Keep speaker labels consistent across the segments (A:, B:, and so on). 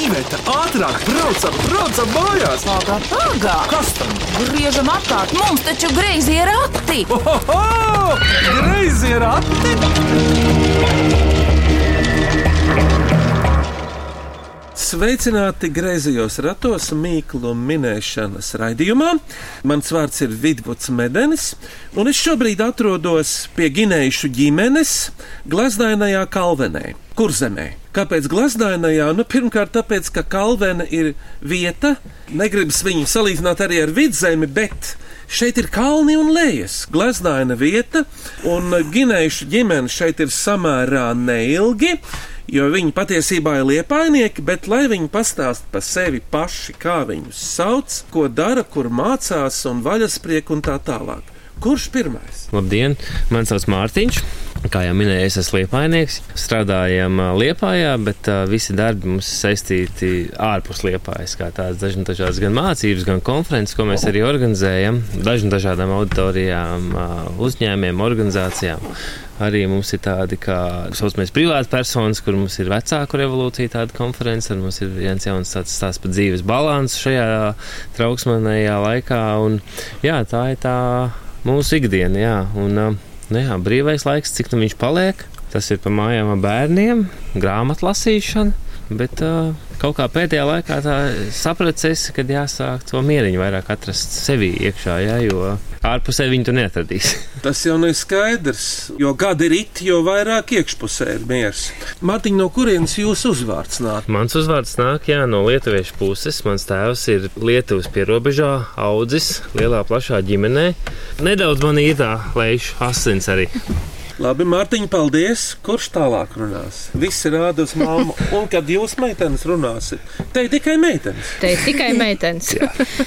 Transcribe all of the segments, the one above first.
A: Iveta, ātrāk, braucam, braucam mājās!
B: Pagā, pagā!
A: Kas tam?
B: Griežam apkārt, mums taču greizi ir rati!
A: Oho! Greizi ir ati!
C: Sveicināti griezījos ratos mīklu minēšanas raidījumā. Mans vārds ir Vidvuds Medenis, un es šobrīd atrodos pie Ginējušu ģimenes Glazdainajā Kalvenē, Kurzemē. Kāpēc Glazdainajā? Nu, pirmkārt, tāpēc, ka Kalvena ir vieta, negribas viņu salīdzināt arī ar vidzemi, bet Šeit ir kalni un lejas, glaznaina vieta, un ginējuši ģimene šeit ir samērā neilgi, jo viņi patiesībā ir liepainieki, bet lai viņi pastāst par sevi paši, kā viņus sauc, ko dara, kur mācās un vaļasprieku un tā tālāk. Kurš pirmais?
D: Labdien, man sauc Mārtiņš. Kā jau minēju, es esmu liepainieks. Strādājam ā, Liepājā, bet ā, visi darbi mums saistīti ārpus Liepājas. Kā tādas dažna- dažādas gan mācības, gan konferences, ko mēs arī organizējam. Dažna dažādām auditorijām, ā, uzņēmiem, organizācijām. Arī mums ir tādi, kā saucamies, privāti personas, kur mums ir vecāku revolūcija, tāda konference, un mums ir viens jauns tāds stāsts par dzīves balansu šajā trauksmanajā laikā. Un, jā, tā ir tā mūsu ikdiena, jā. Un, ā, Nu jā, brīvais laiks, cik tam viņš paliek, tas ir pa mājām ar bērniem, grāmatlasīšana. Bet uh, kaut kā pēdējā laikā sapratusies, ka jāsāk to mieriņu vairāk atrast sevī iekšā, jā, jo ārpusē viņu tu neatradīsi.
C: Tas jau nav skaidrs, jo gadi ir it, jo vairāk iekšpusē ir miers. Mārtiņ, no kurienes jūs uzvārds nāk?
D: Mans uzvārds nāk jā, no lietuviešu puses. Mans tēvs ir Lietuvas pierobežā, audzis lielā, plašā ģimenē. Nedaudz man ir tā lejuša asins arī.
C: Labi, Mārtiņ, paldies. Kurš tālāk runās? Visi rāda uz māmu. Un kad jūs meitenes runāsiet, te ir tikai meitenes.
E: Te ir tikai meitenes.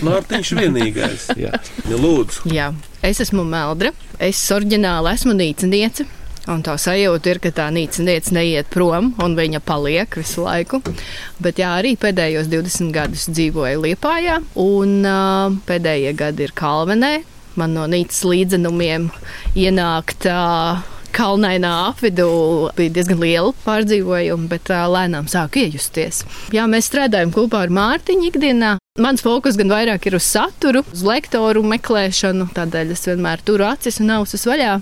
C: Mārtiņš vienīgais.
D: Jā.
C: Ja lūdzu,
E: Jā, es esmu Meldra. Es oriģināli esmu nīciniece. Un tā sajūta ir, ka tā nīciniece neiet prom un viņa paliek visu laiku. Bet jā, arī pēdējos 20 gadus dzīvoju Liepājā, un uh, pēdējie gadi ir Kalvenē. Man no nīcas līdzenumiem ienākt uh, kalnainā apvidū bija diezgan liela pārdzīvojuma, bet uh, lēnām sāk iejusties. Jā, mēs strādājam kopā ar Mārtiņu ikdienā. Mans fokus gan vairāk ir uz saturu, uz lektoru meklēšanu, tādēļ es vienmēr turu acis un ausis vaļā,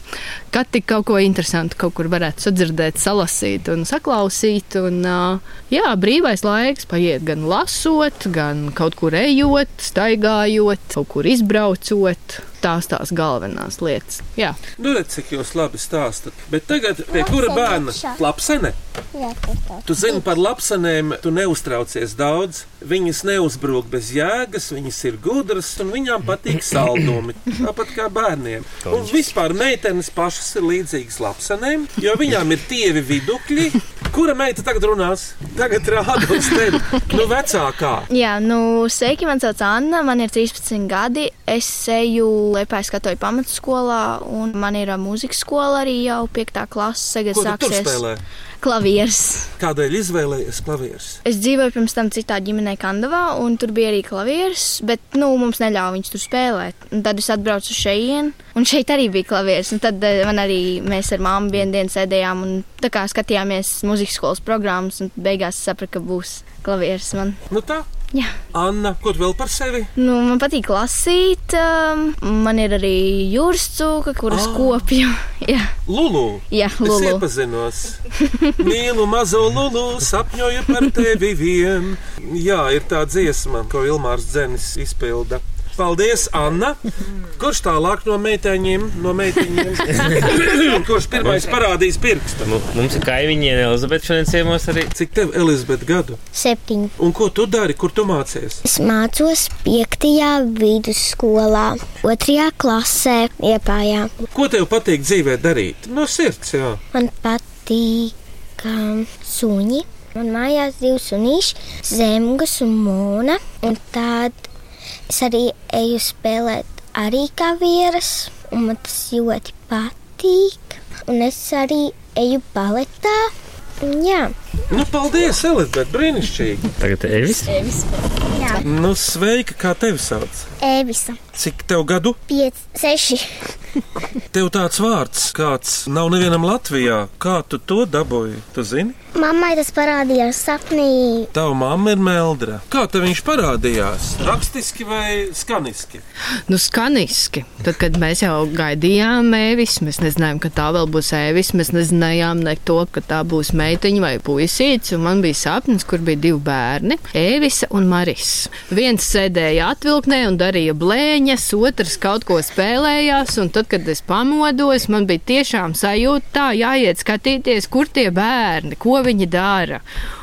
E: kad tik kaut ko interesantu kaut kur varētu sadzirdēt, salasīt un saklausīt. Un, uh, jā, brīvais laiks paiet gan lasot, gan kaut kur ejot, staigājot, kaut kur izbraucot. Tās tās galvenās lietas. Jā.
C: nu redziet, cik jūs labi stāstat. Bet tagad pie kura bērna?
F: Lapsenekša.
C: Lapsene.
F: Jā, tas tā.
C: Tu zini par lapsenēm, tu neuztraucies daudz. Viņas neuzbrūk bez jēgas, viņas ir gudras un viņām patīk saldumi. Tāpat kā bērniem. Un vispār meitenes pašas ir līdzīgas lapsenēm, jo viņām ir tievi vidukļi. Kura meita tagad runās? Tagad rāda uz tevi. Nu, vecākā.
G: Jā, nu, sveiki, man sauc Anna, man ir 13 gadi. Es eju Lietuvā, skatoju pamatskolā, un man ir ā, mūzikas skola arī jau 5. klase. Tagad
C: Ko tu tur
G: sāksies
C: spēlē?
G: klavieres.
C: Kādēļ izvēlējies klavierus?
G: Es dzīvoju pirms tam citā ģimenē, Kandavā, un tur bija arī klavieres, bet nu, mums neļāva viņus tur spēlēt. Un tad es atbraucu šeit, un šeit arī bija klavieres. Un Tad eh, man arī mēs ar māmu vienu dienu sēdējām un tā kā skatījāmies muzikas skolas programmas, un beigās sapratu, ka būs klavieres man.
C: Nu tā,
G: Jā.
C: Anna, ko tu vēl par sevi?
G: Nu, man patīk lasīt. Um, man ir arī jūras cūka,
C: Ah.
G: kuras oh. kopju. jā,
C: Lulu!
G: jā
C: Es
G: Lulu.
C: iepazinos. Mīlu mazo lulu, sapņoju par tevi vien. Jā, ir tā dziesma, ko Ilmārs Dzenis izpilda. Paldies, Anna! Kurš tālāk no meiteņiem? No meiteņiem? Kurš pirmais parādīs pirkstu?
D: Nu, mums ir kaimiņiene Elizabete šodien ciemos arī.
C: Cik tev, Elizabete, gadu?
F: Septiņi.
C: Un ko tu dari, kur tu mācies?
F: Es mācos piektajā vidusskolā, otrajā klasē, iepājā.
C: Ko tev patīk dzīvē darīt? No sirds, jā.
F: Man patīk um, suņi. Man mājās divi sunīši, zemgas un mūna. Un tad es arī eju spēlēt arī kavieras, un man tas ļoti patīk. Un es arī eju baletā. Un jā,
C: Nu, paldies, Elizabete, brīnišķīgi.
D: Tagad Evis.
C: Nu, sveika, kā tevi sauc?
F: Evisa.
C: Cik tev gadu?
F: 5, 6.
C: Tev tāds vārds, kāds nav nevienam Latvijā. Kā tu to dabūji? Tu zini?
F: Mammai tas parādījās sapnī.
C: Tava mamma ir Meldra. Kā tev viņš parādījās? Rakstiski vai skaniski?
E: Nu, skaniski. Tad, kad mēs jau gaidījām ēvis, mēs nezinājām, ka tā vēl būs ēvis. Mēs nezinājām ne to, ka tā būs meitiņa vai puisīts. Un man bija sapnis, kur bija divi bērni - Ēvisa un Maris. Viens sēdēja atvilknē un darīja blēņas, otrs kaut ko spēlējās. Un tad, kad es pamodos, man bija tiešām sajūta, tā jāiet skatīties, kur tie bērni, ko viņi dara.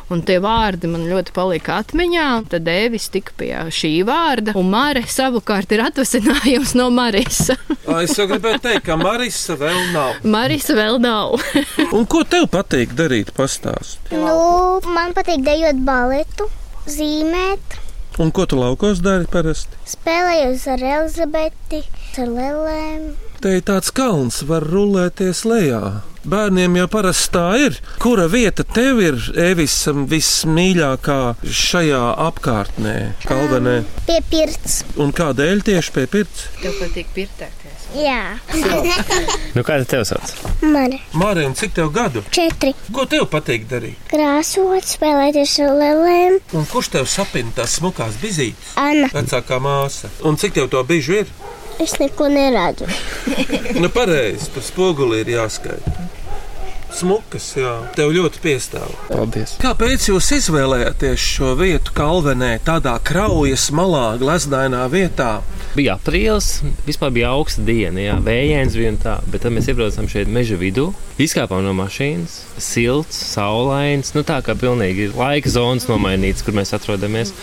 E: Un tie vārdi man ļoti palika atmiņā. Tad Dēvis tika pie šī vārda, un Māra savukārt ir atvasinājums no Marijas.
C: Ai, Es jau gribēju teikt, ka Marisa vēl nav.
E: Marijas vēl nav.
C: Un ko tev patīk darīt? Pastāst.
F: Nu, man patīk dejot baletu, zīmēt.
C: Un ko tu laukos dari parasti?
F: Spēlējos ar Elizabeti, ar Lelēm.
C: Te ir tāds kalns, var rulēties lejā. Bērniem jau parasti tā ir. Kura vieta tev ir Evisam vismīļākā šajā apkārtnē, kalvenē?
F: Pie pirts.
C: Un kādēļ tieši pie pirts?
E: Tev patīk pirtēties.
F: Jā,
D: Nu, kā tev sauc?
F: man
C: Mārim, cik tev gadu?
F: četri.
C: Ko tev patīk darīt?
F: Krāsot, spēlēties ar Lelēm.
C: Un kurš tev sapina tās smukās bizītes?
F: Anna,
C: Vecākā māsa. Un cik tev to bijuši ir?
F: es neko neredzu.
C: Nu, pareizi, tur spoguli ir jāskaita. Smukas, jā, tev ļoti piestāv.
H: Paldies!
C: Kāpēc jūs izvēlējāties šo vietu kalvenē, tādā kraujas malā, gleznainā vietā?
D: Bija aprīlis, vispār bija augsta diena, jā, vējains bija un tā. Bet tad mēs iebraucām šeit meža vidū, izkāpām no mašīnas, silts, saulains. Nu, tā kā pilnīgi laika zonas nomainīts, kur mēs atrodamies.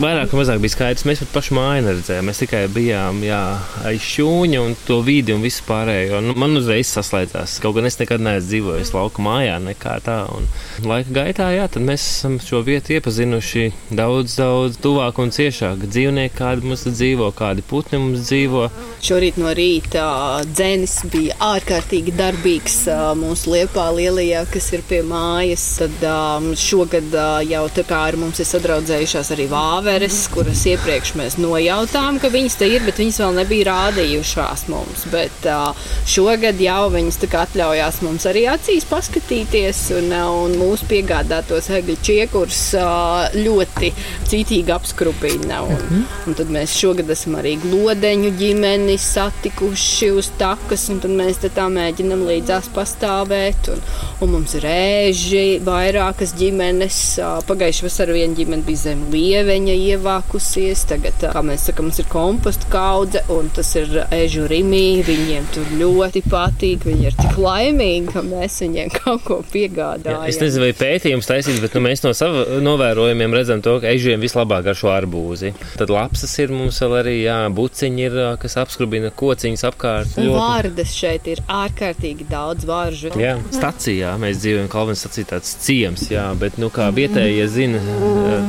D: Vairāk vai mazāk bija skaidrs, mēs pat pašu māju neredzējām. Mēs tikai bijām jā, aiz šūņa un to vidi un visu pārējo. Nu, man uzreiz saslēdzās, kaut gan es nekad neesmu dzīvojis lauka mājā, nekā tā. Un laika gaitā, jā, tad mēs esam šo vietu iepazinuši daudz, daudz tuvāk un ciešāk. Dzīvnieki kādi mums te dzīvo, kādi putni mums dzīvo.
I: Šorīt no rīta dzēnis bija ārkārtīgi darbīgs ā, mūsu liepā lielajā, kas ir pie mājas. Tad ām, šogad ā, jau tā kā ar mums ir sadraudzējušās arī vāveres, kuras iepriekš mēs nojautām, ka viņas te ir, bet viņas vēl nebija rādījušās mums. Bet ā, šogad jau viņas tā kā atļaujās mums arī acīs paskatīties un, ā, un mūsu piegādātos egļu čiekurs ā, ļoti citīgi apskrupina.
D: Mhm.
I: Un, un tad mēs šogad esam arī glodeņu ģimeni satikuši uz takas, un tad mēs te tā mēģinam līdzās pastāvēt. Un, un mums ir rēži, vairākas ģimenes. ā, Pagājušā vasarā viena ģimene bija zem lieveņa ievākusies, tagad, ā, kā mēs sakām, mums ir kompostu kaudze, un tas ir ežu rimī. Viņiem tur ļoti patīk, viņi ir tik laimīgi, ka mēs viņiem kaut ko
D: Jā,
I: piegādājam.
D: es nezinu, vai pētījums taisīts, bet nu, mēs no sava novērojumiem redzam, to, ka ežiem vislabāk ar šo arbūzi. Tad lapsas ir mums vēl arī, jā, buciņi ir, ā, kas apskrubina kociņus apkārt.
I: Un
D: Ļoti-
I: vārdas šeit ir ārkārtīgi daudz vāržu.
D: Jā, stācijā mēs dzīvojam, kā Kalvins sacīja, tāds ciems, jā, bet, nu, kā vietējie zina,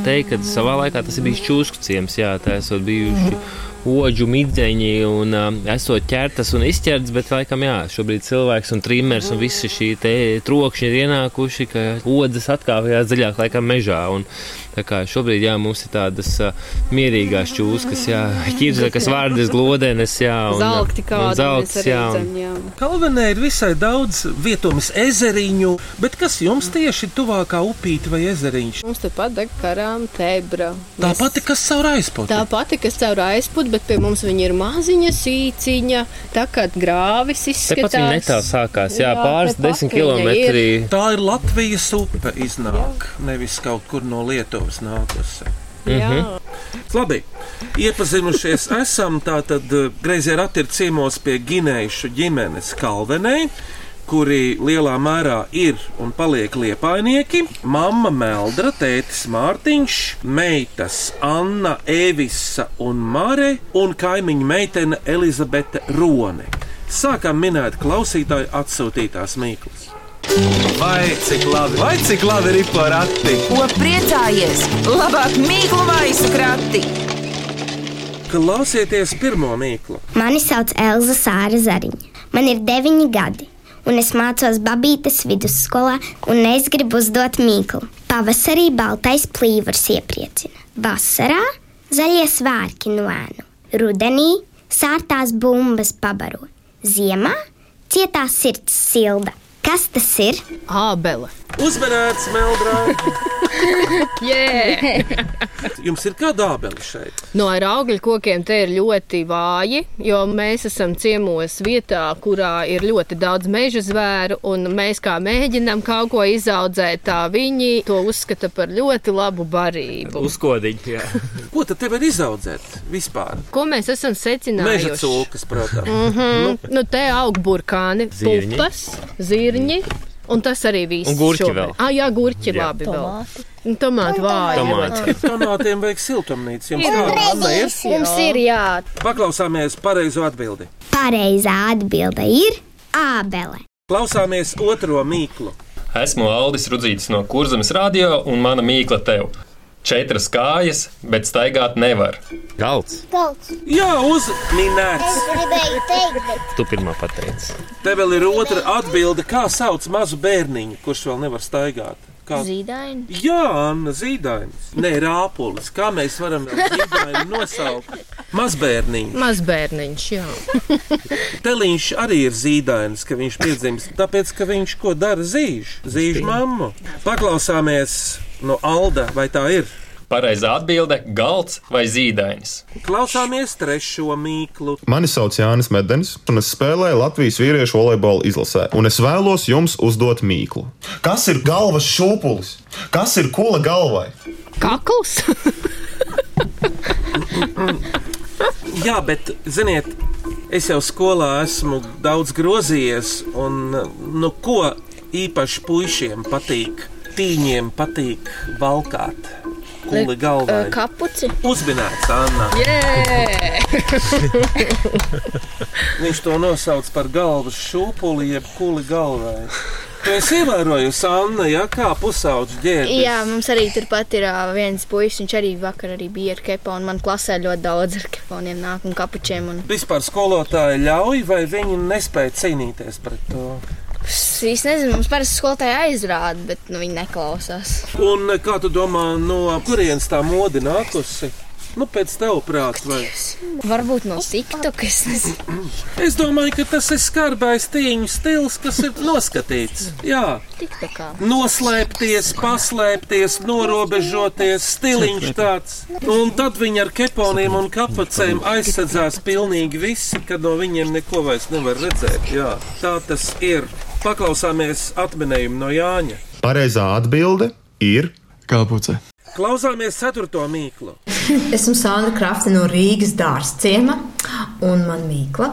D: teikt, ka savā laikā tas ir bijis čūsku ciems, jā, tā esot bijuši oģu midzeņi un um, esot ķertas un izķerts, bet laikam, jā, šobrīd cilvēks un trimmers un visi šī te trokšņi ir ienākuši, ka odzes atkāpjās dziļāk laikam mežā un tā kā šobrīd, jā, mums ir tādas uh, mierīgās čūskas, jā, ķirzakas, vārdas, glodenes, jā, un,
I: Zelti
D: un
I: kādi
D: zeltas,
I: mēs arī
D: jā, un,
I: dzem, jā.
C: Kalvenē ir visai daudz vietomis ezeriņu, bet kas jums tieši tuvākā upīte vai ezeriņš?
I: Mums tepat deg karām tebra.
C: Tā
I: Mēs-
C: pati, kas caur aizpūtu.
I: Tā pati, kas caur aizpūtu, bet pie mums viņa ir maziņa, sīciņa, tā kā grāvis
D: Tepat
I: izskatās.
D: viņa netālu sākās, jā,
I: Jā,
D: pāris
I: tepat viņa
D: desmit
I: ir.
D: kilometri.
C: Tā ir Latvijas upe iznāk, nevis kaut kur no Lietuvas nākusi.
D: Mhm.
I: Jā.
C: Labi, iepazinušies. Esam tātad eh, Greizē Ratīra ciemos pie Ginējušu ģimenes Kalvenē, kuri lielā mērā ir un paliek liepainieki. Mamma Meldra, tētis Mārtiņš, meitas Anna, Evisa un Mare un kaimiņa meitene Elizabete Rone. Sākam minēt klausītāju atsūtītās mīklas.
A: Vai cik labi, vai cik labi ir porakti?
B: Ko priecājies? Labāk mīklu maisu krati!
C: Klausieties pirmo mīklu.
F: Mani sauc Elza Sāra Zariņa. Man ir deviņi gadi, un es mācos Babītes vidusskolā, un es gribu uzdot mīklu. Pavasarī baltais plīvurs iepriecina, vasarā zaļie svārki no ēnu, rudenī sārtās bumbas pabaro, ziemā cietā sirds silda. Kas tas ir?
E: Ābele.
C: Uzmanīts, Meldrā!
E: Yeah.
C: Jums ir kāda abeli šeit?
E: No Nu, ar augļu kokiem te ir ļoti vāji, jo mēs esam ciemos vietā, kurā ir ļoti daudz meža zvēru, un mēs kā mēģinām kaut ko izaudzēt, tā viņi to uzskata par ļoti labu barību.
D: Uzkodiņa.
C: Ko tad te var izaudzēt vispār?
E: Ko mēs esam
C: Meža
E: secinājuši?
C: cūkas, protams. Mm -hmm.
E: Nu, te aug burkāni,
D: Zirņi.
E: pupas, zirņi. Un tas arī viss.
D: Un gurķi
E: šobrīd.
D: vēl.
E: Ah, jā, gurķi jā. labi. Tomāti. Tomāti vāji.
D: Tomāti.
C: Tomātiem vajag siltumnīcu. Jums tāda Anna, ir.
G: Mums ir jā,
C: Paklausāmies pareizo atbildi.
F: Pareizā atbilde ir ābele.
C: Klausāmies otro mīklu.
H: Esmu Aldis Rudzītis no Kurzemes radio un mana mīkla tev. Četras kājas, bet staigāt nevar.
D: Galds.
F: Galds.
C: Jā, uzminēts.
F: Gribēju teikt, bet
D: Tu pirmā pateici.
C: Te vēl ir otra atbilde. Kā sauc mazu bērniņu, kurš vēl nevar staigāt? Kā...
G: zīdaini.
C: Jā, Anna Zīdainis. Nē, Rāpulis. Kā mēs varam vēl Zīdaini nosaukt? Mazbērniņu.
E: Mazbērniņš, jā.
C: Teliņš arī ir zīdainis, ka viņš piedzimst, tāpēc, ka viņš ko dara zīž, zīž mammu. Paklausāmies no Alda, vai tā ir?
H: Pareizā atbilde - galds vai zīdainis.
C: Klausāmies trešo mīklu.
J: Mani sauc Jānis Medenis, un es spēlēju Latvijas vīriešu volejbola izlasē. Un es vēlos jums uzdot mīklu. Kas ir galvas šūpulis? Kas ir kola galvai?
E: Kakls?
C: Jā, bet, ziniet, es jau skolā esmu daudz grozījies, un nu, ko īpaši puišiem patīk, tīņiem patīk valkāt. Kuli galvā.
G: Kapuci.
C: Uzminēts, Anna.
E: Jē!
C: Viņš to nosauc par galvas šūpuli, jeb kuli galvā. Tu esi ievērojusi, Anna, ja kā pusaudža ģērbis.
G: Jā, mums arī turpat ir ā, viens puisis, viņš arī vakar arī bija ar keponu. Man klasē ļoti daudz ar keponiem nāk un kapučiem. Un...
C: Vispār skolotāji ļauj, vai viņi nespēja cīnīties pret to?
G: Es īsti nezinu, mums parasti skolotāji aizrāda, bet nu, viņi neklausās.
C: Un eh, kā tu domā, no kurienes tā mode nākusi? Nu, pēc tev prātā, vai?
G: Varbūt no TikTok, es nezinu.
C: Es domāju, ka tas ir skarbais tīņu stils, kas ir noskatīts. Jā,
G: TikTokā.
C: noslēpties, paslēpties, norobežoties, stiliņš tāds. Un tad viņi ar keponiem un kapacēm aizsardzās pilnīgi visi, kad no viņiem neko vairs nevar redzēt. Jā, tā tas ir. Paklausāmies atminējumu no Jāņa.
J: Pareizā atbilde ir
K: Kāpuce.
C: Klausāmies ceturto mīklu.
L: Esmu Sandra Krafta no Rīgas dārzciema un man mīkla.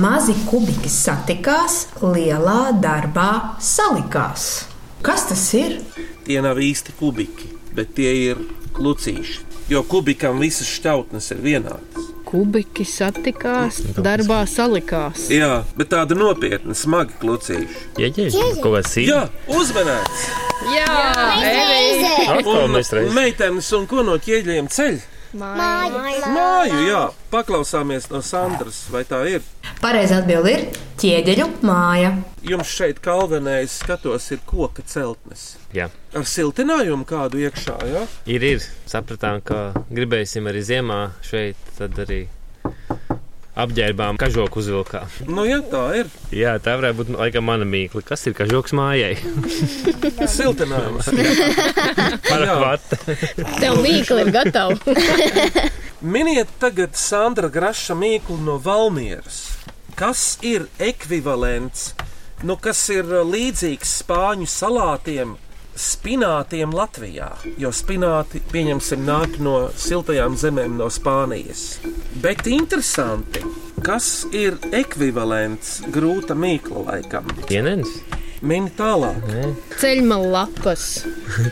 L: Mazi kubiki satikās, lielā darbā salikās. Kas tas ir?
C: tie nav īsti kubiki, bet tie ir lucīši. Jo kubikam visas šķautnes ir vienādas.
E: Kubiki
D: Nu,
E: satikās, darbā salikās.
C: Jā, bet tāda nopietna, smaga klucīša.
D: Jēģeļ, ko vai sīk?
C: Jā, uzmanīts!
E: Jā, e, Evi!
D: Atkal mēs reiz.
C: meitenes un ko no ķieģeļiem ceļ? Māju, jā, paklausāmies no Sandras, vai tā ir.
L: Pareizā atbilde ir ķieģeļu māja.
C: Jums šeit kalvenējas skatos ir koka celtnes.
D: Jā.
C: Ar siltinājumu kādu iekšā, jā?
D: Ir, ir. Sapratām, ka gribēsim arī ziemā šeit, tad arī apģērbām kažoku uzvilkā.
C: Nu, jā, tā ir.
D: Jā, tā varētu būt laikam mana mīkla. Kas ir kažoks mājai?
C: Siltinājums.
D: Parakvata.
E: Tev mīkli ir gatavi!
C: Miniet tagad Sandra Graša mīklu no Valmieras. Kas ir ekvivalents, nu kas ir uh, līdzīgs spāņu salātiem, spinātiem Latvijā? Jo spināti, pieņemsim, nāk no siltajām zemēm no Spānijas. Bet interesanti, kas ir ekvivalents grūta mīkla laikam?
D: Dienens?
C: Mini tālāk.
E: Ceļma lapas,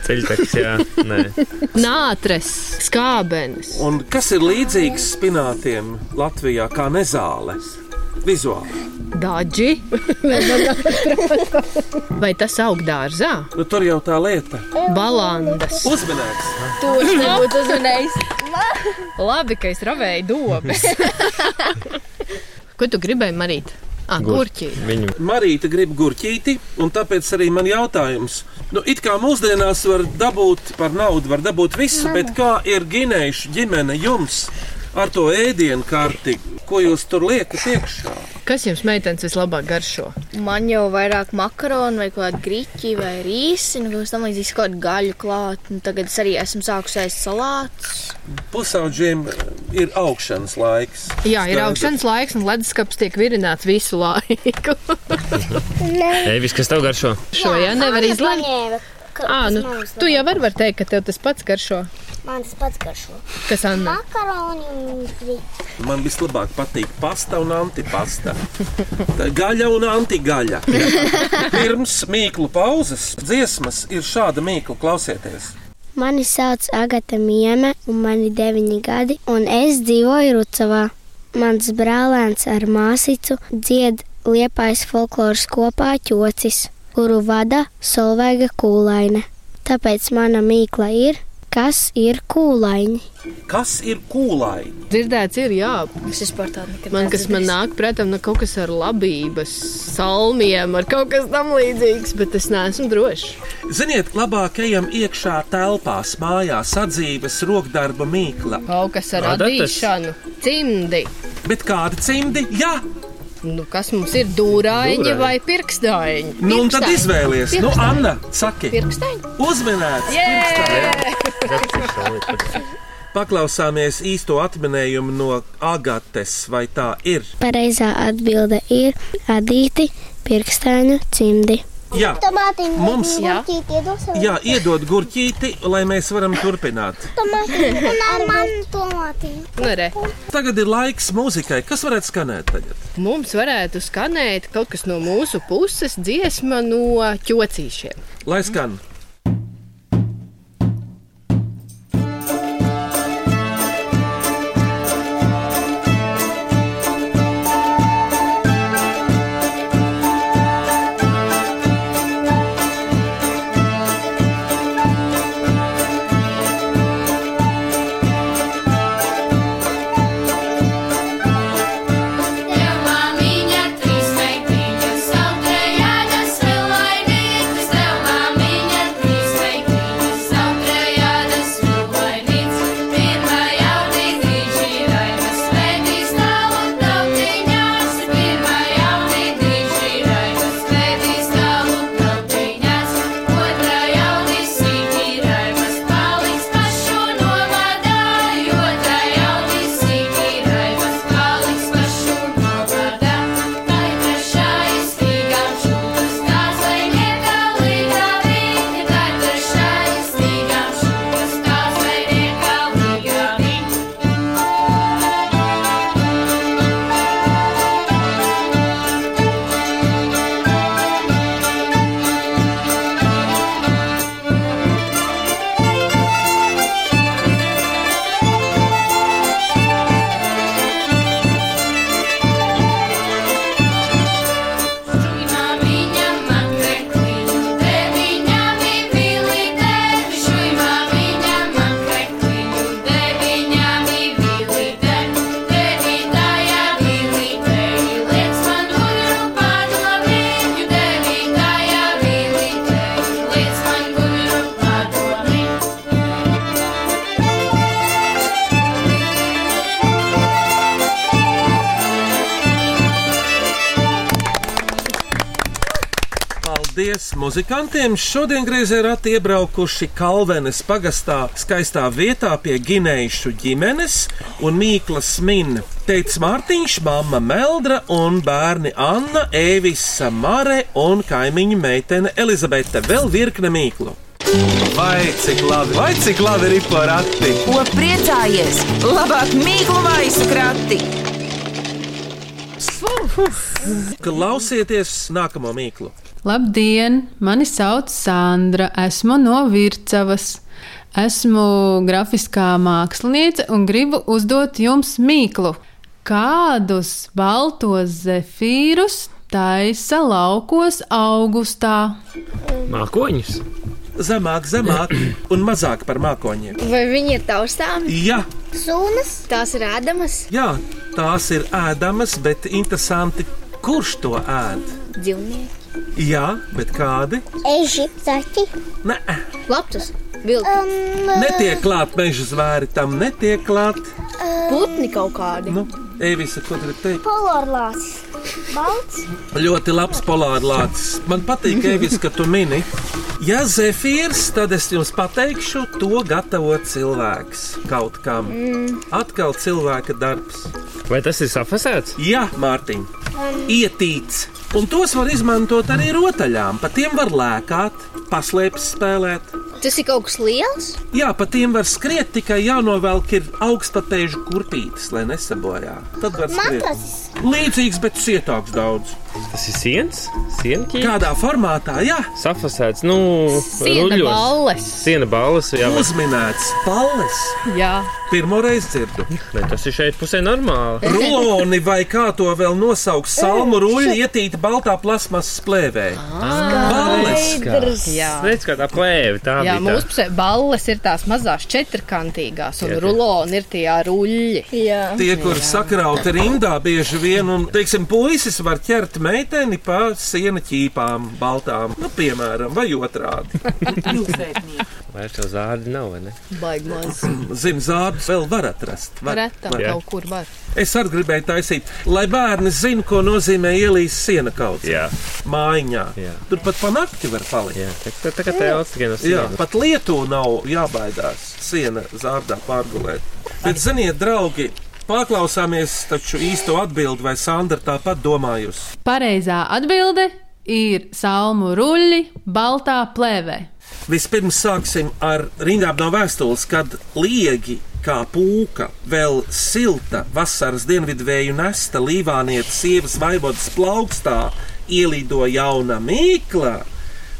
D: Ceļtaks, jā. Nē.
E: nātres, skābenes.
C: Un kas ir līdzīgs spinātiem Latvijā kā nezāle? Vizuāli.
E: Daži. Vai tas aug dārzā?
C: Nu, tur jau tā lieta.
E: Balandas.
C: Uzmanīgs!
G: To es nebūtu uzmanējis.
E: Labi, ka es ravēju dobes. Ko tu gribēji marīt? Ah, gurķi.
D: Viņam
C: Marīta grib gurķīti, un tāpēc arī man jautājums. Nu, it kā mūsdienās var dabūt par naudu, var dabūt visu, bet kā ir ginējuši ģimene jums ar to ēdienu kārti, ko jūs tur liekat iekšā?
E: Kas jums, meitenes, vislabāk garšo?
G: Man jau vairāk makaronu vai kādu grīķi vai rīsi, un kaut tam līdzīgi kaut kādu gaļu klāt. Un tagad es arī esmu sākusi ēst salātus.
C: Pusauģiem ir augšanas laiks.
E: Jā, ir augšanas laiks, un leduskapis tiek virināts visu laiku.
D: Evis, kas tev garšo?
E: Šo jau nevar izlemt. Ah, nu, tu jau vari var teikt, ka tev tas pats garšo.
F: Mans pats garšo.
E: Kas Anna?
F: Makaroni un grīķi.
C: Man vislabāk patīk pasta un antipasta. Tā Gaļa un antigaļa. Pirms mīklu pauzes dziesmas ir šāda mīkla, klausieties.
F: Mani sauc Agata Mieme, un man ir deviņi gadi, un es dzīvoju Rucavā. Mans brālēns ar māsīcu dzied liepais folkloras kopā ķocis, kuru vada Solveiga kūlaine. Tāpēc mana mīkla ir, kas ir kūlaini.
C: Kas ir kūlai?
E: Dzirdēts, ir jā.
G: Es vispār tādu nekad
E: Man, kas man nāk, prātā, ir kaut kas ar labības, salmiem, ar kaut kas tam līdzīgs, bet es neesmu drošs.
C: Ziniet, labāk ejam iekšā telpās, mājās, sadzīves, rokdarba mīkla.
E: Kaut kas ar
C: Adatas?
E: radīšanu, cimdi.
C: Bet kāda cimdi? Jā,
E: Nu, kas mums ir dūrāņi
C: Dūrāņi.
E: vai pirkstaiņi?
C: nu un tad izvēlies. Nu, Anna, saki,
E: Pirkstaiņi?
C: uzmanīts! Paklausāmies īsto atminējumu no Agates, vai tā ir?
F: Pareizā atbilde ir adīti pirkstēņu cimdi.
C: Jā,
F: Tomātiņa
C: Mums-
F: jā.
C: jā iedod gurķīti, lai mēs varam turpināt.
F: Tomātiņa un ar mani tomātiņu.
E: Nu, re.
C: Tagad ir laiks mūzikai. Kas varētu skanēt tagad?
E: Mums varētu skanēt kaut kas no mūsu puses, dziesma no ķocīšiem.
C: Lai skan. Paldies muzikantiem! Šodien griezē rati iebraukuši Kalvenes pagastā, skaistā vietā pie Ginējušu ģimenes un Mīklas min. Teicis Mārtiņš, mamma Meldra un bērni Anna, Ēvisa Mare un kaimiņu meitene Elizabete. Vēl virkne mīklu.
A: Vai cik labi, vai cik labi ir porakti?
B: Ko priecājies? Labāk mīklu maisu krati!
C: Klausieties nākamo mīklu!
K: Labdien, mani sauc Sandra, esmu no Vircavas. Esmu grafiskā māksliniece un gribu uzdot jums mīklu. Kādus baltos zefīrus taisa laukos augustā?
D: Mākoņus.
C: Zemāk, zemāk un mazāk par mākoņiem.
G: Vai viņi ir taustāmi?
C: Jā,
G: Sūnas, tās ir ēdamas.
C: jā, tās ir ēdamas, bet interesanti, Kurš to ēd?
F: Dzīvnieki.
C: Jā, bet kādi?
F: Eži, zaķi.
C: Nē,
F: Laptus. Um,
C: netiek klāt meža zvēri, tam netiek klāt.
G: Putni kaut kādi.
C: Nu, Eivisa, ko tu gribi teikt?
F: Polārlācis. Balts.
C: Ļoti labs polārlācis. Man patīk, Eivis, ka tu mini. Ja zefīrs, tad es jums pateikšu, to gatavo cilvēks kaut kam.
F: Mm.
C: Atkal cilvēka darbs.
D: Vai tas ir safasēts?
C: Jā, Mārtiņ, ietīts. Un tos var izmantot arī rotaļām. Pa tiem var lēkāt, paslēpes spēlēt.
G: Tas ir kaut kas liels.
C: Jā, pa tiem var skriet, tikai jānovelk ir augstpapēžu kurpītes, lai nesabojā. Tad var skriet.
F: Matas.
C: Līdzīgs, bet cietāks daudz.
D: Tas ir siens, sienķis.
C: Kādā formātā, jā.
D: Safasēts, nu,
E: Siena
D: ruļļos.
E: balles.
D: Siena balles, jā. bet-
C: Uzminēts palles.
E: Jā,
C: Pirmoreiz dzirdu.
D: Bet tas ir šeit pusē normāli.
C: Ruloni vai kā to vēl nosaukt, salmu ruļļi ietīta baltā plasmasas plēvē.
G: Ah.
C: Balles!
E: Skaidrs. Jā.
D: Redz, kā tā plēve tā
E: jā
D: bija.
E: mūsu pusē balles ir tās mazās četrkantīgās, un
D: Jā, tie-
E: ruloni ir tie ruļļi. Jā.
C: Tie, kur sakrauti rindā, bieži vien, un, teiksim, puisis var ķert meiteni pa siena ķīpām, baltām, nu, piemēram, vai otrādi.
D: Tā. Vairs jau zādi nav, vai ne?
E: Baigi maz.
C: Zinu, zābus vēl var atrast. Var,
E: Reta
C: var.
E: kaut kur var.
C: Es arī gribēju taisīt, lai bērni zinātu, ko nozīmē ielīst siena kaut
D: Jā.
C: mājiņā.
D: Jā.
C: Tur pat pa nakti var palikt.
D: Jā, tā, tā, tā kā tā jau atskan no
C: Jā,
D: sienas.
C: pat lietu nav jābaidās siena zārdā pārgulēt. Bet, ziniet, draugi, paklausāmies taču īsto atbildi, vai Sandra tāpat domājusi.
K: Pareizā atbilde ir salmu ruļļi baltā plēvē.
C: Vispirms sāksim ar rindām no vēstules, kad liegi kā pūka, vēl silta vasaras dienvidvēju nesta līvānietu sievas vaibodas plaukstā ielido jauna mīkla.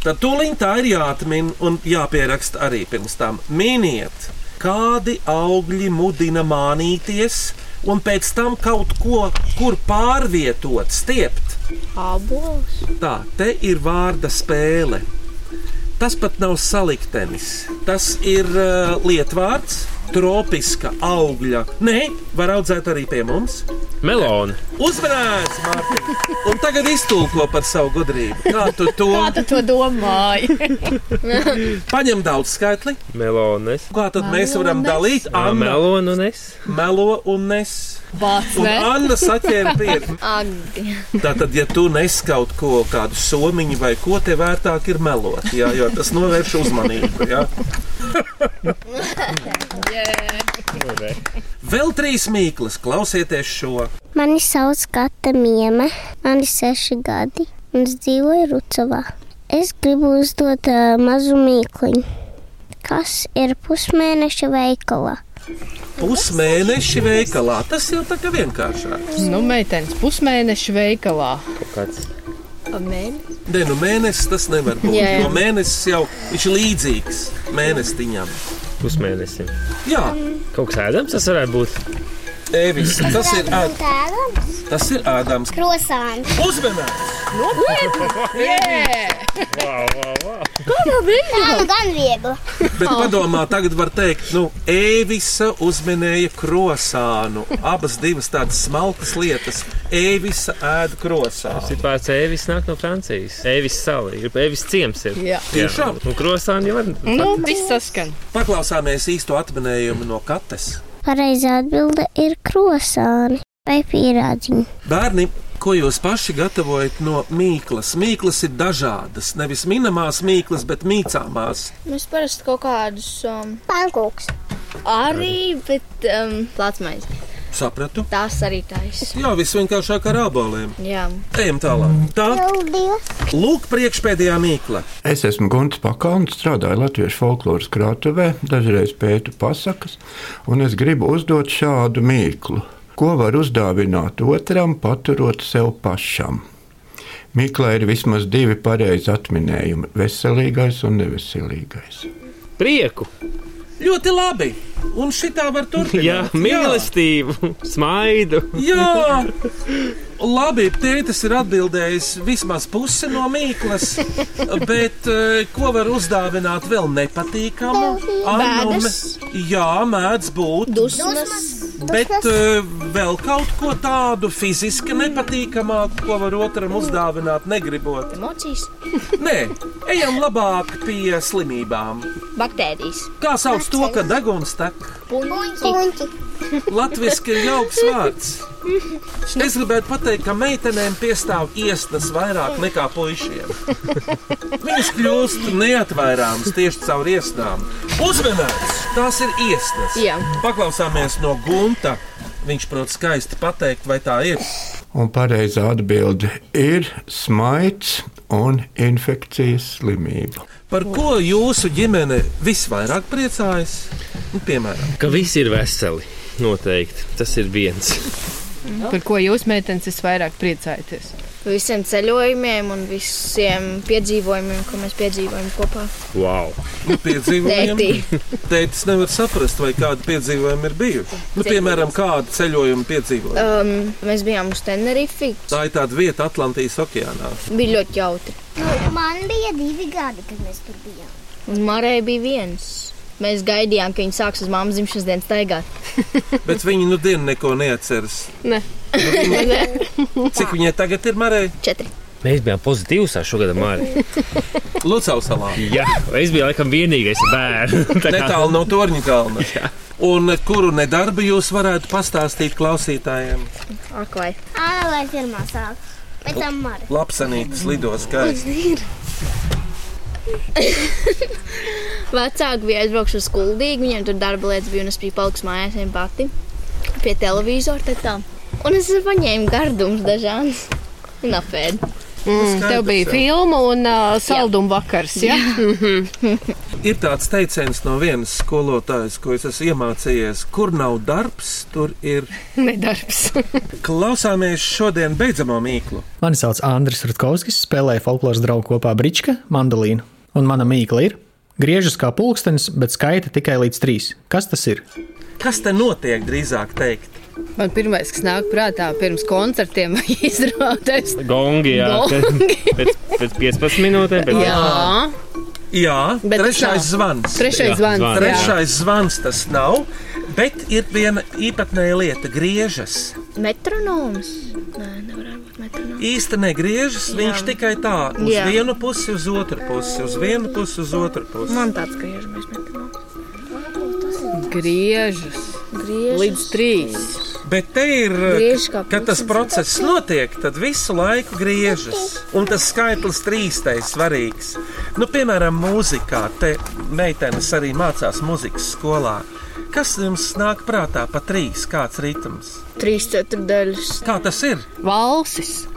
C: Tad tūlīt tā ir jāatmin un jāpieraksta arī pirms tam. Miniet, kādi augļi mudina mānīties un pēc tam kaut ko kur pārvietot, stiept.
G: Abols.
C: Tā, te ir vārda spēle. Tas pat nav saliktenis. Tas ir uh, lietvārds, tropiska augļa. Nē, var audzēt arī pie mums.
D: Melona.
C: Uzmanīgs, Mārtiņ! Un tagad iztulko par savu gudrību. Kā tu to
E: Kā tu to domāji?
C: paņem daudz skaitli?
D: Melones.
C: Kā tad mēs varam dalīt? Anna
D: Melona un es.
C: melo un nes.
E: Bāc,
C: Un
E: ne?
C: Anna saķēra pirkli.
G: Ag.
C: Tātad, ja tu nes kaut ko, kādu somiņu vai ko, te vērtāk ir melot, jā, jo tas novērš uzmanību. Jā. Vēl trīs mīklas, klausieties šo.
F: Mani sauc Kata Mieme, man ir seši gadi, un es dzīvoju Rucavā. Es gribu uzdot uh, mazu mīkluņu. Kas ir pusmēneša veikalā?
C: Pusmēneši veikalā. Tas jau tā kā vienkāršāk.
E: Nu, meitenes pusmēneša veikalā.
D: Kaut kāds.
G: Mēnesis.
C: Nē, nu mēnesis tas nevar būt.
E: Jā, jā.
C: Jo mēnesis jau viņš ir līdzīgs mēnesiņam.
D: Pusmēnesim.
C: Jā,
D: Kaut kas ēdams tas varētu būt.
C: Evis, tas ir, ēd,
F: Tēlam?
C: tas ir ēdams.
F: Krosāns.
C: Uzmanīgs!
E: Yeah!
D: Wow, wow, wow.
F: Tā nu gan viegli.
C: Bet padomā, tagad var teikt, nu, Eivisa uzminēja krosānu. Abas divas tādas smalkas lietas. Eivisa ēda krosānu.
D: Šis vārds Evis nāk no Francijas. Evis sala. Ir Evis ciems. Ir.
E: Jā.
C: Tiešām?
D: Un krosāni jau var.
E: Nu, viss saskan.
C: Paklausāmies īsto atminējumu no kates.
F: Pareizā atbilde ir krosāni vai pierādziņi.
C: Bērni, ko jūs paši gatavojat no mīklas? Mīklas ir dažādas. Nevis minamās mīklas, bet mīcāmās.
G: Mēs parasti kaut kādus um,
F: Pankūks.
G: arī, bet um, plācmaiņas.
C: Sapratu?
G: Tās arī taisa.
C: Jā, viss vienkāršāk ar aboliem.
G: Jā.
C: Ejam tālāk. Tā,
F: Paldies.
C: lūk, priekšpēdējā mīkla.
M: Es esmu Gunts Pakauns, strādāju Latvijas folkloras krātuvē, dažreiz pētu pasakas, un es gribu uzdot šādu mīklu. Ko var uzdāvināt otram, paturot sev pašam? Mīklā ir vismaz divi pareizi atminējumi - veselīgais un neveselīgais.
D: Prieku.
C: Ļoti labi. Un šitā var
D: Jā,
C: turpināt.
D: mīlestību. Smaidu.
C: Jā, labi, tētis ir atbildējis vismaz pusi no mīklas, bet eh, ko var uzdāvināt vēl nepatīkamu? Anum-
G: Bēdas.
C: Jā, mēdz būt
G: Dusmas.
C: Bet eh, vēl kaut ko tādu fiziski nepatīkamāku, ko var otram uzdāvināt, negribot.
F: Emocijas.
C: Nē, ejam labāk pie slimībām.
F: Baktērijas.
C: Kā sauc to, ka deguns tek?
F: Puņķi.
C: Latvijasiski ir jauks vārds. Es gribētu pateikt, ka meitenēm piestāv iestas vairāk nekā puišiem. Viņas kļūst neatvairāmas tieši caur iestām. Uzmanības! Tās ir iestas.
E: Jā.
C: Paklausāmies no gunta. Viņš prot skaisti pateikt, vai tā ir.
M: Un pareizā atbilde ir smaids un infekcijas slimība.
C: Par ko jūsu ģimene visvairāk priecājas? Nu, piemēram,
D: Ka visi ir veseli. Noteikti. Tas ir viens.
E: nu. Par ko jūs, meitenes, visvairāk priecājaties?
G: Visiem ceļojumiem un visiem piedzīvojumiem, ko mēs piedzīvojam kopā.
D: Wow.
C: Nu, piedzīvojumi. Tētis nevar saprast, vai kāda piedzīvojuma ir bijusi. Nu, piemēram, kāda ceļojuma piedzīvojuma.
G: Um, mēs bijām uz Tenerifi.
C: Tā ir tāda vieta Atlantijas okeānā.
G: Bija ļoti jautri.
F: Man bija divi gadi, kad mēs tur bijām.
G: Un Marai bija viens. Mēs gaidījām, ka viņa sāks uz mammas dzimšanas dienas taigāt.
C: Bet viņi nu dienu neko neatceras. Nu,
G: Nē,
C: Cik viņai tagad ir marēji?
G: Četri.
D: Mēs bijām pozitīvs ar šo gadu mārciņu.
C: Lucavas salā.
D: Jā, es biju laikam vienīgais bērns.
C: Netālu no Torņa kalna. Un kuru nedarbu jūs varētu pastāstīt klausītājiem?
F: Aklai. Aklai pirmā sāla. Pēc tam Mara.
C: Lapsanītas lido skaisti.
G: Vecāki bija aizbraukuši uz skuldīgu, viņiem tur darba lietas bija un es biju palikusi mājās viena pati pie televizora. tā tā. Un es paņēmu gardumus dažādas un apēdu.
K: Mm, tev bija filma un uh, salduma vakars. Ja?
C: Ir tāds teiciens no vienas skolotājas, ko es esmu iemācījies, kur nav darbs, tur ir
K: nedarbs.
C: Klausāmies šodien beidzamo mīklu.
N: Mani sauc Andris Rutkovskis, spēlēju folkloras draugu kopā Brička, mandolīnu. Un mana mīkla ir: griežas kā pulkstenis, bet skaita tikai līdz trīs. Kas tas ir?
C: Kas te notiek drīzāk teikt?
E: Man pirmais, kas nāk prātā pirms koncertiem vai izrādēs,
D: Gongi, jā.
E: Gongi.
D: Pēc, pēc 15 minūtēm. Pēc...
E: Jā.
C: Jā,
E: Bet
C: trešais
E: tā.
C: zvans.
E: Trešais Jā, zvans, zvans.
C: Trešais zvans tas nav, bet ir viena īpatnēja lieta - griežas.
G: Metronoms? Nē, nevarētu būt metronoms.
C: Īsti negriežas,
G: Jā.
C: viņš tikai tā uz
G: Jā.
C: vienu pusi, uz otru pusi, uz vienu pusi, uz otru pusi.
G: Man tāds griežamies metronoms.
E: griežas
G: Griežas.
E: līdz trīs.
C: Bet te ir,
E: Griež kā
C: kad tas process notiek, tad visu laiku griežas. Un tas skaitlis trīstais svarīgs. Nu, piemēram, mūzikā, te meitenes arī mācās muzikas skolā. Kas jums nāk prātā pa trīs? Kāds ritms?
G: Trīs ceturdaļas.
C: Kā tas ir?
E: Valsis.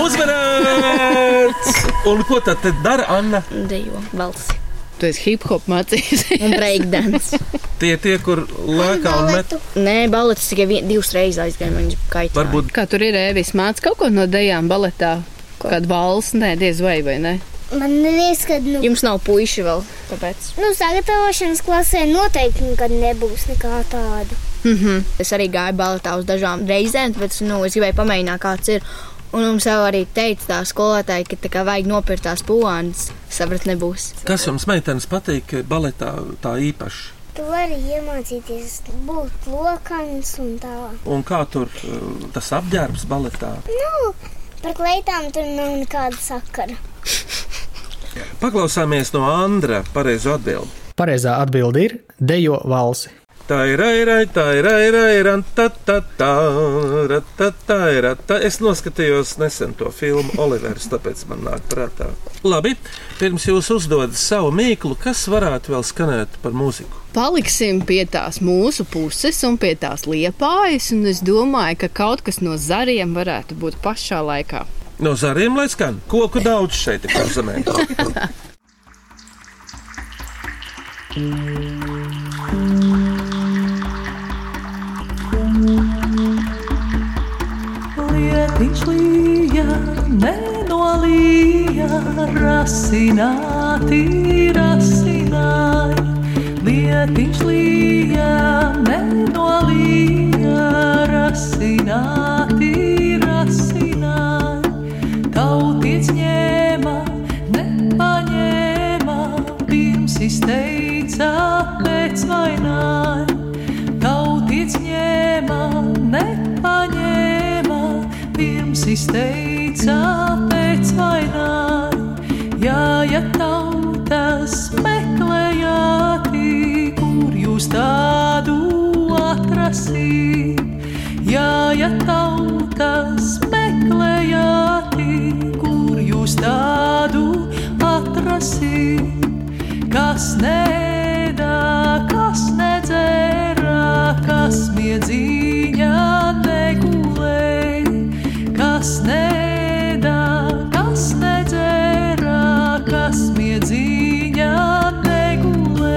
C: Uzvarēts! Un ko tad te dara Anna?
G: Dejo balsi.
E: Tu esi hip hop mācījis.
G: Un breakdance.
C: Tie tie, kur lēkā un met.
G: Nē, balets tikai vien, divas reizes aizgāja. Viņš kaitināja.
C: Varbūt
E: Kā tur ir ēvis mācīt kaut ko no dejām baletā? Kāda valsts, nē, diez vai vai ne?
F: Man liekas, ka nu,
G: jums nav puiši vēl. Tāpēc.
F: nu, sagatavošanas klasē noteikti nekad nebūs nekā tāda.
G: Mm -hmm. Es arī gāju baletā uz dažām reizēm, bet nu, es gribēju pamēģināt, kāds ir. Un mums jau arī teica tā skolotāja, ka tā kā vajag nopirkt tās pūles. Saprat, nebūs.
C: Kas jums, meitenes, patīk baletā tā īpaši?
F: Tu vari iemācīties būt lokans un tā.
C: Un kā tur uh, tas apģērbs baletā?
F: Nu, par kleitām tur nav nekāda sakara.
C: Paklausāmies no Andra pareizo atbildi.
N: Pareizā atbilde ir dejo valsi.
C: Tā ir raidai, tā ir raidai, tā ir tā. Es noskatījos nesen to filmu Olivers, tāpēc man nāk prātā. Labi, pirms jūs uzdodat savu mīklu, kas varētu vēl skanēt par mūziku?
E: Paliksim pie tās mūsu puses un pie tās liepājas, un es domāju, ka kaut kas no zariem varētu būt pašā laikā.
C: No zariem lai skan koku daudz šeit ir pazemē.
O: Lietiņš līja, nenolīja, rasināti, rasināja. Lietiņš līja, nenolīja, rasināti, rasināja. Tauties ņēma, nepaņēma, pirms izteica, pēc vaināja. Tauties ņēma. pirms izteica pēc vainai, ja, ja tautas meklējāti, kur jūs tādu atrasīt. Ja, ja tautas meklējāti, kur jūs tādu atrasīt, kas nedā, kas nedzērā, kas miedzīņā negulē, kas nedā, kas nedzērā, kas miedzīņā negulē.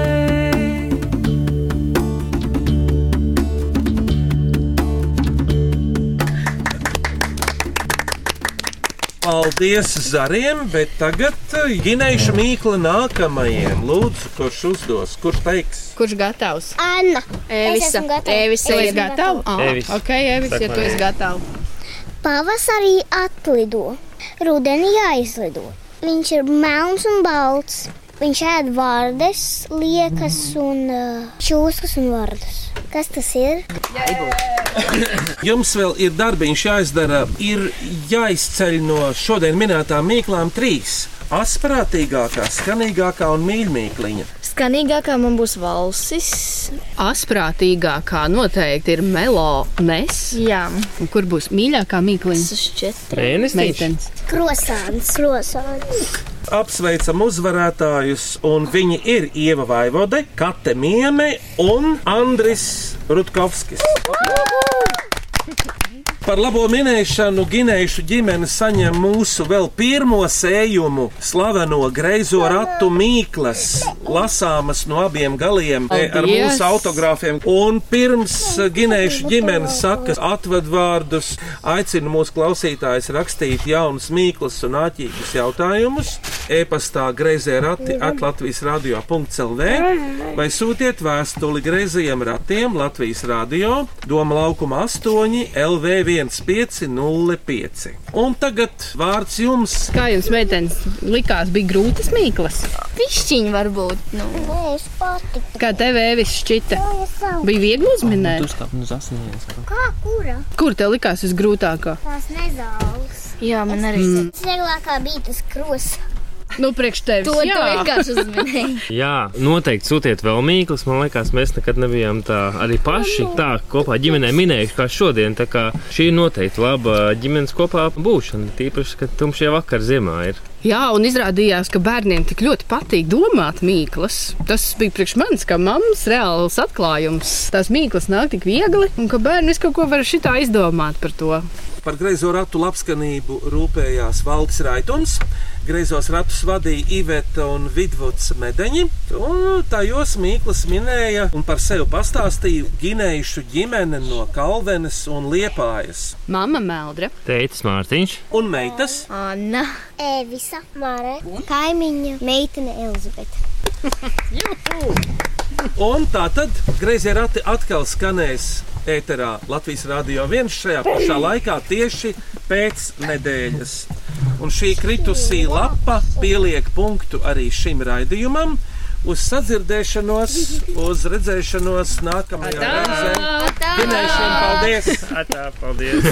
C: Paldies zariem, bet tagad eh, Ginēša mīkla nākamajiem. Lūdzu, kurš uzdos, kurš teiks?
E: Kurš gatavs?
F: Anna.
E: Evisa.
F: esmu gatava.
E: Evisa,
F: Es
E: tu esi
F: esmu
E: gatava?
F: gatava.
E: Ah,
F: Evis.
E: Ok, Evisa, ja
F: Saka
E: tu
F: man,
E: esi
F: Evis.
E: gatava.
F: Pavasarī atlido, rudenī aizlido. Viņš ir melns un balts. Viņš ēd vārdes, liekas, un uh, čūskas un vārdus. Kas tas ir?
C: Jums vēl ir darbiņš jāizdara, ir jāizceļ no šodien minētām mīklām trīs - asprātīgākā, skanīgākā un mīļākā.
E: Skanīgākā man būs valsis. Asprātīgākā noteikti ir melonēs.
G: Jā.
E: Un kur būs mīļākā mīkliņa?
D: Mēnesis?
E: Meitenes.
F: Krosāns. Krosāns.
C: Apsveicam uzvarētājus, un viņi ir Ieva Vaivode, Kate Mieme un Andris Rutkovskis. Par labo minēšanu Ginējušu ģimene saņem mūsu vēl pirmo sējumu, slaveno greizo ratu mīklas, lasāmas no abiem galiem e, ar
A: Paldies!
C: mūsu autogrāfiem. Un pirms eh, Ginējušu ģimene saka atved vārdus, aicinu mūsu klausītājus rakstīt jaunus mīklas un āķīgus jautājumus e-pastā greizē rati atlatvijas radio.lv vai sūtiet vēstuli greizajiem ratiem Latvijas radio Doma laukuma 8 LV1505. Un tagad vārds jums.
E: Kā jums, meitenes, likās, bija grūtas mīklas?
G: Pišķiņi varbūt. Nu.
F: Nē, es patiku.
E: Kā tev Evis šķita? Bija viegli uzminēt.
D: uz asinīs.
F: Kā kura?
E: Kur tev likās visgrūtākā?
F: Tās nezāles.
G: Jā, man arī.
E: Mm.
F: Vieglākā bija tas krosāns.
E: Nu, priekš tevis.
G: To tu
E: jā.
G: vienkārši uzminēji.
D: Jā, noteikti sūtiet vēl mīklas. Man liekas, mēs nekad nebijām tā arī paši tā kopā ģimenē minējuši kā šodien. Tā kā šī ir noteikti laba ģimenes kopā būšana. Tīpaši, ka tumšie vakar ziemā ir.
E: jā, un izrādījās, ka bērniem tik ļoti patīk domāt mīklas. Tas bija priekš manis, kā mammas reāls atklājums. Tās mīklas nāk tik viegli, un ka bērni visu kaut ko var šitā izdomāt par to.
C: Par greizo ratu labskanību rūpējās Valdis Raitons. Greizos ratus vadīja Iveta un Vidvuds Medeņi. Un tajos Mīklas minēja un par sevi pastāstīja Ginējušu ģimene no Kalvenes un Liepājas.
E: Mama Meldra.
D: Teicis Mārtiņš.
C: Un meitas?
F: Anna. Evisa. Mare. Kaimiņa. Meitene Elizabete.
C: Un tā tad grazē rati atkal skanēs ēterā Latvijas Rādio 1 šajā pašā laikā tieši pēc nedēļas. Un šī kritusī lapa pieliek punktu arī šim raidījumam. Uz sadzirdēšanos, uz redzēšanos nākamajā reizē. Ginēšiem paldies!
D: Atā, paldies!